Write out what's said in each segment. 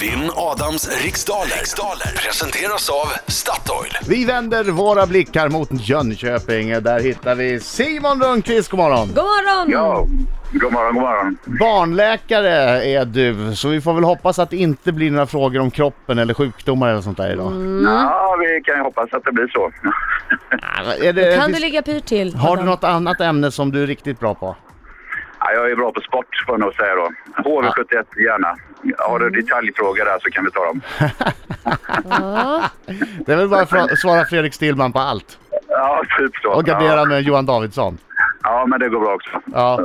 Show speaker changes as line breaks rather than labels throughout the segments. Vinn Adams riksdaler. riksdaler presenteras av Statoil.
Vi vänder våra blickar mot Jönköping. Där hittar vi Simon Rönnqvist, god morgon.
God morgon!
Ja, god morgon, god morgon.
Barnläkare är du, så vi får väl hoppas att det inte blir några frågor om kroppen eller sjukdomar eller sånt där idag.
Mm. Ja, vi kan ju hoppas att det blir så.
Ah, Är det,
Kan du
finns-
ligga pyrt till?
eh, har du
Adam?
något annat ämne som du är riktigt bra på?
ja, jag är bra på sport, får jag nog säga då. HV71, gärna. Har du detaljfrågor där så kan vi ta dem.
Ja.
Det är väl bara för att svara Fredrik Stillman på allt.
Ja, typ så.
Och gardera
ja.
med Johan Davidsson.
ja, men det går bra också.
Ja.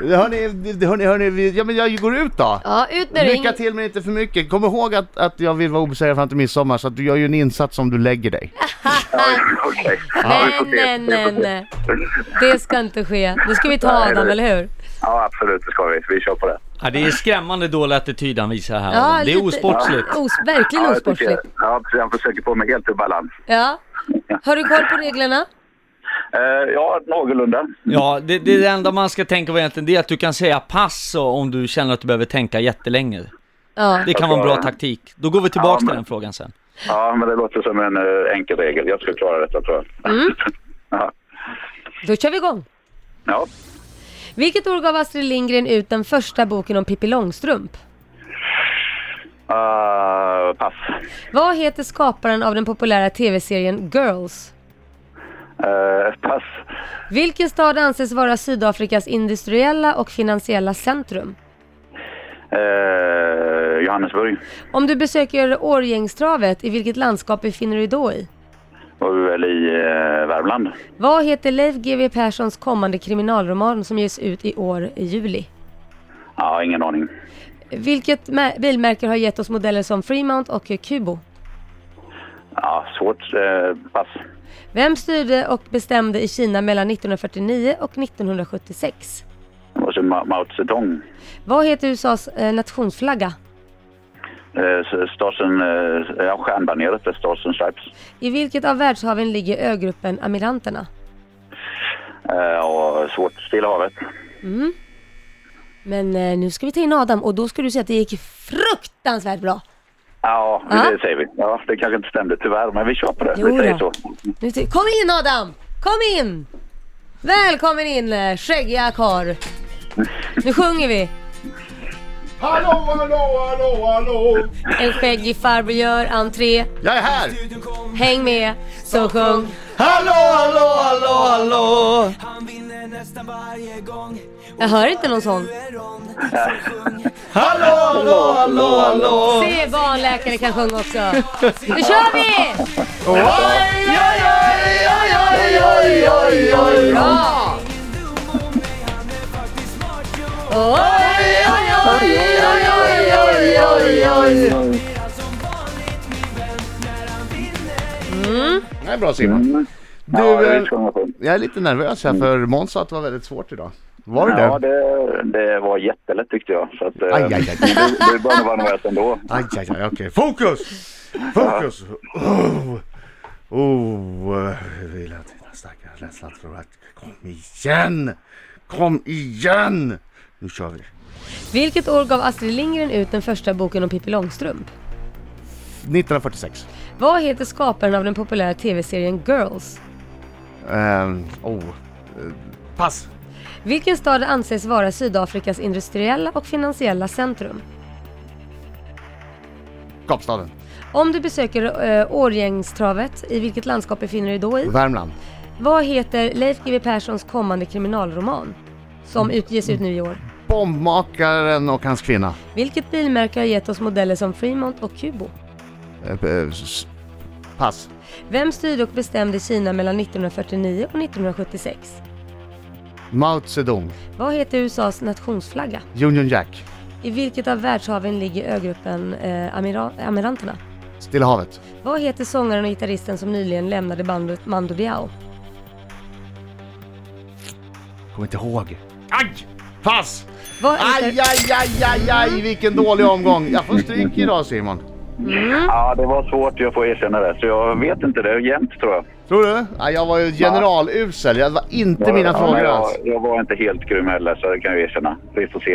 Hörni, hörni, hörni, vi- ja, men jag går ut då.
ja, ut med ring.
Lycka till men inte för mycket. Kom ihåg att, att jag vill vara obesegrad fram till midsommar så att du gör ju en insats om du lägger dig.
Okej. Ja, vi får
Nej, nej,
se.
nej,
Vi får se.
nej. Det ska inte ske. Nu ska vi ta
Nej,
Adam,
nej.
eller hur?
Ja, absolut, det ska vi. Vi kör på det.
Ja, det är skrämmande dålig attityd han visar här. Adam. det är
lite-
osportsligt.
Os, verkligen
Ja, jag
osportsligt.
tycker- Ja, precis. Jag försöker få mig helt ur balans.
Ja. Har du koll på reglerna?
Eh, ja, någorlunda.
Ja, det, det är det enda man ska tänka på egentligen det är att du kan säga pass och- om du känner att du behöver tänka jättelänge.
Ja.
Det kan vara en bra taktik. Då går vi tillbaka
Ja, men-
till den frågan sen.
Ja, men det låter som en eh, enkel regel. Jag ska klara detta, tror jag. ja.
Då kör vi igång.
ja.
Vilket år gav Astrid Lindgren ut den första boken om Pippi Långstrump?
Ah, pass.
Vad heter skaparen av den populära tv-serien Girls?
Eh, pass.
Vilken stad anses vara Sydafrikas industriella och finansiella centrum?
Eh, Johannesburg.
Om du besöker Årgängstravet, i vilket landskap befinner du dig då i?
Var vi väl i eh, Värmland.
Vad heter Leif GW Perssons kommande kriminalroman som ges ut i år i juli?
Ja, ingen aning.
Vilket mä- bilmärke har gett oss modeller som Fremont och Kubo?
Ja, svårt. Eh, pass.
Vem styrde och bestämde i Kina mellan 1949 och 1976?
Och så Ma- Mao Zedong.
Vad heter USAs eh, nationsflagga?
Eh, Stasen... Eh, ja, stjärnbaneret. eh, Stasen Stripes.
I vilket av världshaven ligger ögruppen Amiranterna?
Eh, och svårt. Stilla havet.
Men eh, nu ska vi ta in Adam och då ska du säga att det gick fruktansvärt bra.
Ja,
Ja.
det säger vi. Ja, det kanske inte stämde tyvärr, men vi kör på det.
Jo
vi säger
då.
så.
Nu ty- Kom in Adam! Kom in! Välkommen in eh, skäggiga karl. Nu sjunger vi.
Hallå, hallå, hallå, hallå!
En skäggig farbror gör entré.
Jag är här!
Häng med, så sjung.
Hallå, hallå, hallå, hallå!
Jag hör inte någon sån.
Hallå, hallå, hallå, hallå!
Se barnläkare kan sjunga också. Nu kör vi!
Oj, oj, oj, oj, oj, oj, oj, oj!
Bra! Oj, oj, oj, oj, oj, oj, oj, oj.
Det är bra Simon. Mm. Du,
Mm. ja, det är
eh,
diskussion.
jag är lite nervös här för Måns sa att det var väldigt svårt idag. Var det
Ja,
det?
det, det var jättelätt tyckte jag. Så att, eh,
Aj, aj, aj.
Du, du bör nog vara nervös ändå.
Aj, aj, aj, okej. Fokus! Fokus! Oh, oh. jag vill att dina stackars rädsla tror att... Kom igen! Kom igen! Nu kör vi.
Vilket år gav Astrid Lindgren ut den första boken om Pippi Långstrump?
1946.
Vad heter skaparen av den populära tv-serien Girls?
Ehm, oh. Eh, Pass!
Vilken stad anses vara Sydafrikas industriella och finansiella centrum?
Kapstaden.
Om du besöker äh, Årgängstravet, i vilket landskap befinner du dig då i?
Mm.
Värmland.
Vad heter Leif GW Perssons kommande kriminalroman? Som utges ut nu i år.
Bombmakaren och hans kvinna.
Vilket bilmärke har gett oss modeller som Fremont och Kubo?
Eh, eh, s- Pass.
Vem styrde och bestämde Kina mellan 1949 och 1976?
Mao Zedong.
Vad heter USAs nationsflagga?
Union Jack.
I vilket av världshaven ligger ögruppen eh, Amira- Amiranterna?
Stilla havet.
Vad heter sångaren och gitarristen som nyligen lämnade bandet Mando Diao?
Kommer inte ihåg. Aj! Pass!
Vad heter...
Aj, aj, aj, aj, aj, vilken dålig omgång. Jag får stryk idag Simon.
Ja, det var svårt, jag får erkänna det. Så jag vet inte, det är jämnt tror jag.
Tror du? Ja, jag var ju generalusel. Jag var inte mina
ja,
frågor alltså.
men jag,
alls.
jag var inte helt grym heller, så det kan jag erkänna. Vi får se.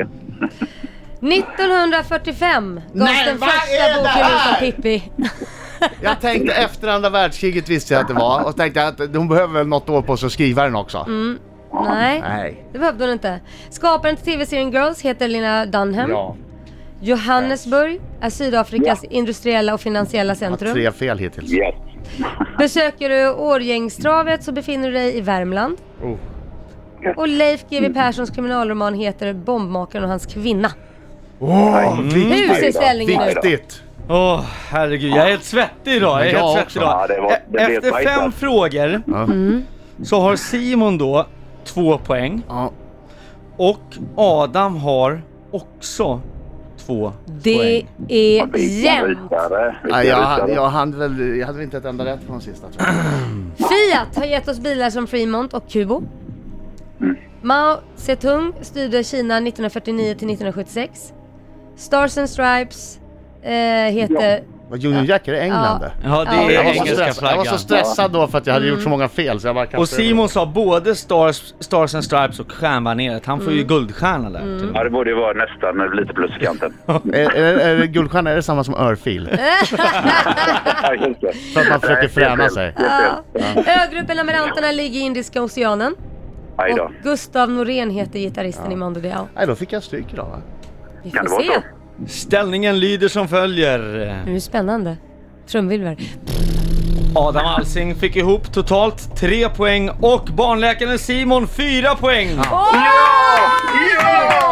1945 gavs
Nej,
den
vad
första
är det
boken ut
här?
av Pippi.
Jag tänkte efter andra världskriget visste jag att det var och tänkte att hon behöver väl något år på sig att skriva den också.
Mm. Nej,
Nej.
det behövde hon inte. Skaparen till tv-serien Girls heter Lina Dunham.
Ja,
Johannesburg är Sydafrikas industriella och finansiella
jag har
centrum.
tre fel hittills.
Yes.
Besöker du Årgängstravet så befinner du dig i Värmland.
Oh.
Och Leif
Mm.
GW Perssons kriminalroman heter Bombmakaren och hans kvinna.
Mm. Åh,
Hur
viktigt!
ser ställningen ut?
Viktigt!
Åh, herregud. Jag är helt svettig idag. Jag är
Men jag
helt svettig
också.
idag.
Ja, det var- det blev
Efter
tajt,
fem
alltså.
frågor
Ja.
så har Simon då två poäng
Ja.
och Adam har också två
Det
poäng.
är
Vilka
jämnt.
rysare. Vilka
Nej, jag,
rysare.
jag, hann väl, jag hade väl inte ett enda rätt på de sista tror jag.
Fiat har gett oss bilar som Fremont och Kubo.
Mm.
Mao Zedong styrde Kina 1949 till 1976. Stars and Stripes eh, heter...
Vad Union Jack, är det England
Ja. Mm.
det?
Ja, det
Ja.
är
Jag var, så
engelska
stressad, jag var
flaggan.
så stressad då för att jag hade gjort så många fel så jag bara kastade
Och Simon sa både Stars, Stars and Stripes och Stjärnbaneret. Han får ju guldstjärna där till och
Ja,
med.
det borde ju vara nästan lite plus i kanten.
Är, är, är det guldstjärna, är det samma som örfil?
Ja, just det.
Så att man försöker
Nej, det är
fräna
fel.
sig.
Det är fel.
Ja. Ah, Ögruppen Amiranterna ligger i Indiska oceanen.
Aj då.
Och Gustav Norén heter gitarristen i Mando Diao.
Nej, då fick jag stryk idag va?
Vi
Kan det
får
vara
se.
så?
Ställningen lyder som följer.
Nu är det spännande. Trumvirvel.
Adam Alsing fick ihop totalt tre poäng och barnläkaren Simon fyra poäng.
Åh!
Ja!